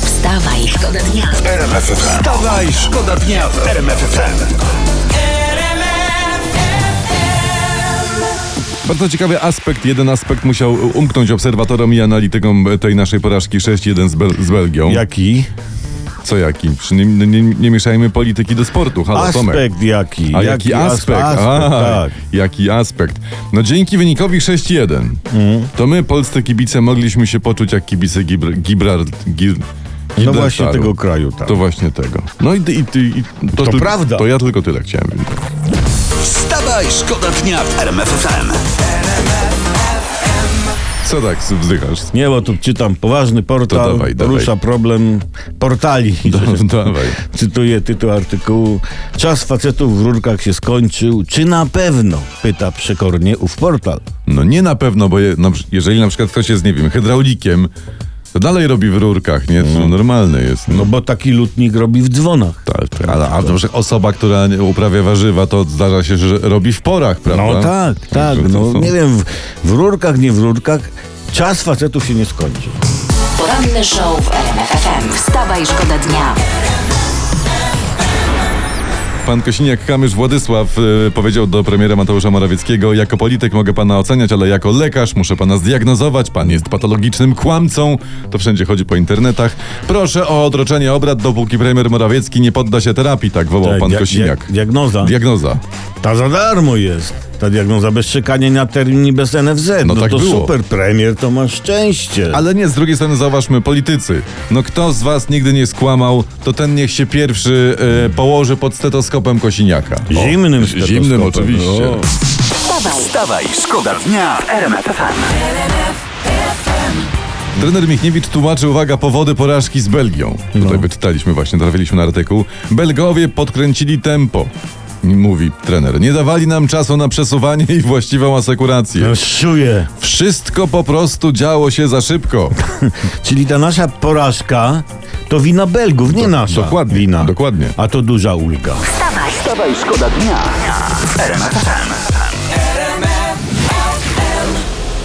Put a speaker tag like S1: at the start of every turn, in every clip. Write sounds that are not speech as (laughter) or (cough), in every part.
S1: Wstawaj, szkoda dnia.
S2: RMF FM. Wstawaj, szkoda dnia w RMF FM.
S3: Bardzo ciekawy aspekt, jeden aspekt musiał umknąć obserwatorom i analitykom tej naszej porażki 6-1 z, Bel- z Belgią.
S4: Jaki?
S3: Co jaki? Przy- Nie, nie, nie mieszajmy polityki do sportu. Halo, Tomek.
S4: Aspekt jaki?
S3: A jaki, aspekt?
S4: as-
S3: A,
S4: tak.
S3: Jaki aspekt? No dzięki wynikowi 6-1
S4: Mhm.
S3: to my, polscy kibice, mogliśmy się poczuć jak kibice Gibr- Gibralt... Gir-
S4: No
S3: Gibraltaru.
S4: właśnie tego kraju, tak.
S3: To właśnie tego. No i, i, i, i to, tylko-
S4: prawda.
S3: To ja tylko tyle chciałem.
S2: Wstawaj, szkoda dnia w RMF FM.
S3: Co tak wzdychasz?
S4: Nie, bo tu czytam poważny portal,
S3: To dawaj, dawaj.
S4: porusza problem portali.
S3: (laughs) Dawaj.
S4: (laughs) Cytuję tytuł artykułu. Czas facetów w rurkach się skończył. Czy na pewno? Pyta przekornie ów portal.
S3: No nie na pewno, bo je, na, przy- jeżeli na przykład ktoś jest, nie wiem, hydraulikiem, to dalej robi w rurkach, nie? To normalne jest.
S4: No
S3: No,
S4: bo taki lutnik robi w dzwonach.
S3: tak, tak. Ale, a to, że osoba, która nie uprawia warzywa, to zdarza się, że robi w porach, prawda?
S4: No tak, tak.
S3: To
S4: No
S3: są-
S4: nie wiem, w, w rurkach, nie w rurkach. Czas facetów się nie skończył.
S1: Poranny show w RMF FM. Wstawaj, szkoda dnia.
S3: Pan Kosiniak-Kamysz Władysław y, powiedział do premiera Mateusza Morawieckiego jako polityk mogę pana oceniać, ale jako lekarz muszę pana zdiagnozować, pan jest patologicznym kłamcą, to wszędzie chodzi po internetach. Proszę o odroczenie obrad, dopóki premier Morawiecki nie podda się terapii, tak wołał
S4: Tak,
S3: pan
S4: dia-
S3: Kosiniak.
S4: dia- Diagnoza.
S3: Diagnoza.
S4: Ta za darmo jest. Ta diagnoza bez czekania na termin i bez NFZ. No,
S3: tak
S4: to
S3: było.
S4: super premier, to masz szczęście.
S3: Ale nie, z drugiej strony zauważmy, politycy. No kto z was nigdy nie skłamał, to ten niech się pierwszy e, położy pod stetoskopem Kosiniaka. O,
S4: Zimnym
S3: Zimnym
S4: stetoskopem. no.
S3: oczywiście.
S4: O.
S1: Wstawaj,
S2: Wstawaj, szkoda dnia w RMF FM.
S3: Trener Michniewicz tłumaczy, uwaga, powody porażki z Belgią.
S4: No.
S3: Tutaj wyczytaliśmy właśnie, trafiliśmy na artykuł. Belgowie podkręcili tempo. Mówi trener. Nie dawali nam czasu na przesuwanie i właściwą
S4: No.
S3: asekurację.
S4: Szuję.
S3: Wszystko po prostu działo się za szybko.
S4: Czyli ta nasza porażka to wina Belgów, nie nasza.
S3: dokładnie,
S4: Wina.
S3: dokładnie.
S4: A to duża ulga.
S1: wstawaj.
S2: Wstawaj, szkoda dnia w RMF FM.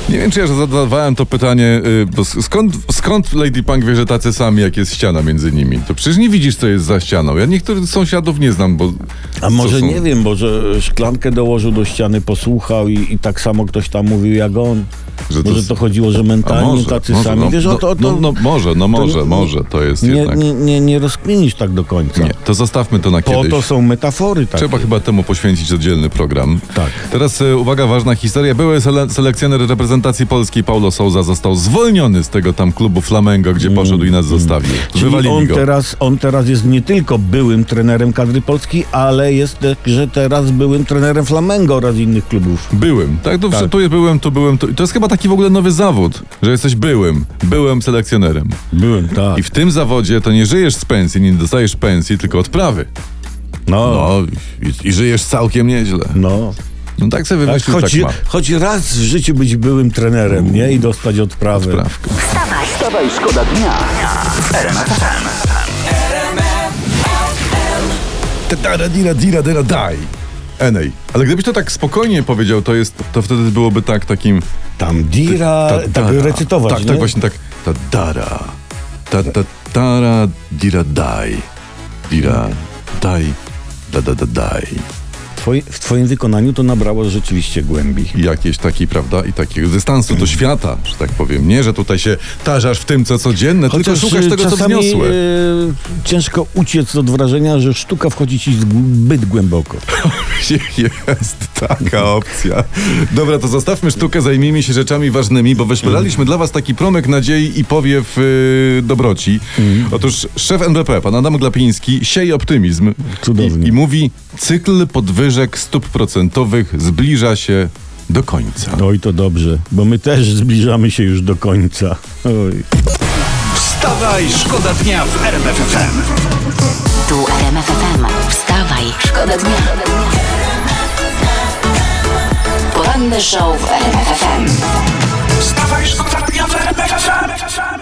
S3: Nie wiem, czy ja zadawałem to pytanie, y, bo s- skąd, skąd Lady Punk wie, że tacy sami, jak jest ściana między nimi? To przecież nie widzisz, co jest za ścianą. Ja niektórych sąsiadów nie znam, bo...
S4: A może nie wiem, może szklankę dołożył do ściany, posłuchał i, i tak samo ktoś tam mówił jak on.
S3: Że to
S4: może
S3: jest-
S4: to chodziło, że mentalnie tak, tacy sami.
S3: no,
S4: Wiesz,
S3: no,
S4: o to, o to,
S3: No, no może, no może,
S4: nie-
S3: może, to jest
S4: nie,
S3: jednak...
S4: nie, nie, nie rozkminisz tak do końca.
S3: Nie, to zostawmy to na
S4: Po
S3: kiedyś.
S4: to są metafory takie.
S3: Trzeba chyba temu poświęcić oddzielny program.
S4: Tak.
S3: Teraz e, uwaga, ważna historia. Były sele- selekcjoner reprezentacji polskiej Paulo Souza został zwolniony z tego tam klubu Flamengo, gdzie poszedł i nas zostawił.
S4: Mm, Czyli
S3: Wywalili
S4: on
S3: go.
S4: teraz, on teraz jest nie tylko byłym trenerem kadry polskiej, ale jest także teraz byłym trenerem Flamengo oraz innych klubów.
S3: Byłym, tak? To,
S4: Tak.
S3: Tu jest byłem, tu byłem. Tu. To jest chyba taki w ogóle nowy zawód, że jesteś byłym, byłem selekcjonerem.
S4: Byłem, tak.
S3: I w tym zawodzie to nie żyjesz z pensji, nie dostajesz pensji, tylko odprawy.
S4: No, no.
S3: No i, i żyjesz całkiem nieźle. No tak sobie
S4: Tak,
S3: wymyślił, tak,
S4: choć,
S3: ma.
S4: choć raz w życiu być byłym trenerem, nie? I dostać odprawę.
S3: Prawka.
S1: Wstawaj,
S2: Wstawaj, szkoda dnia w RMF FM.
S3: Tadara, dira, dira, dira, daj. Enej. Ale gdybyś to tak spokojnie powiedział, to jest, to wtedy byłoby tak takim...
S4: Tam Dira,
S3: ta-
S4: tak
S3: dara.
S4: recytować,
S3: Tak,
S4: nie?
S3: tak, właśnie tak. Ta dara. Ta, ta, tara, dira, daj. Dira, daj. Da, da, da, daj.
S4: Twoje, w twoim wykonaniu to nabrało rzeczywiście głębi.
S3: I Jakieś taki, prawda, i takiego dystansu do świata, że tak powiem. Nie, że tutaj się tarzasz w tym, co codzienne, tylko szukasz
S4: e,
S3: tego,
S4: czasami,
S3: co wniosłe.
S4: e, ciężko uciec od wrażenia, że sztuka wchodzi ci zbyt głęboko.
S3: (laughs) Jest taka opcja. Dobra, to zostawmy sztukę, zajmijmy się rzeczami ważnymi, bo wyszperaliśmy dla was taki promyk nadziei i powiew y, dobroci.
S4: Mhm.
S3: Otóż szef NBP, pan Adam Glapiński, sieje optymizm
S4: Cudownie.
S3: I, i mówi, cykl podwyżek stóp procentowych zbliża się do końca.
S4: Oj, No to dobrze, bo my też zbliżamy się już do końca. Oj.
S2: Wstawaj, szkoda dnia w RMF FM.
S1: tu RMF FM. Wstawaj, szkoda dnia. Poranny show w RMF FM.
S2: Wstawaj, szkoda dnia w RMF FM.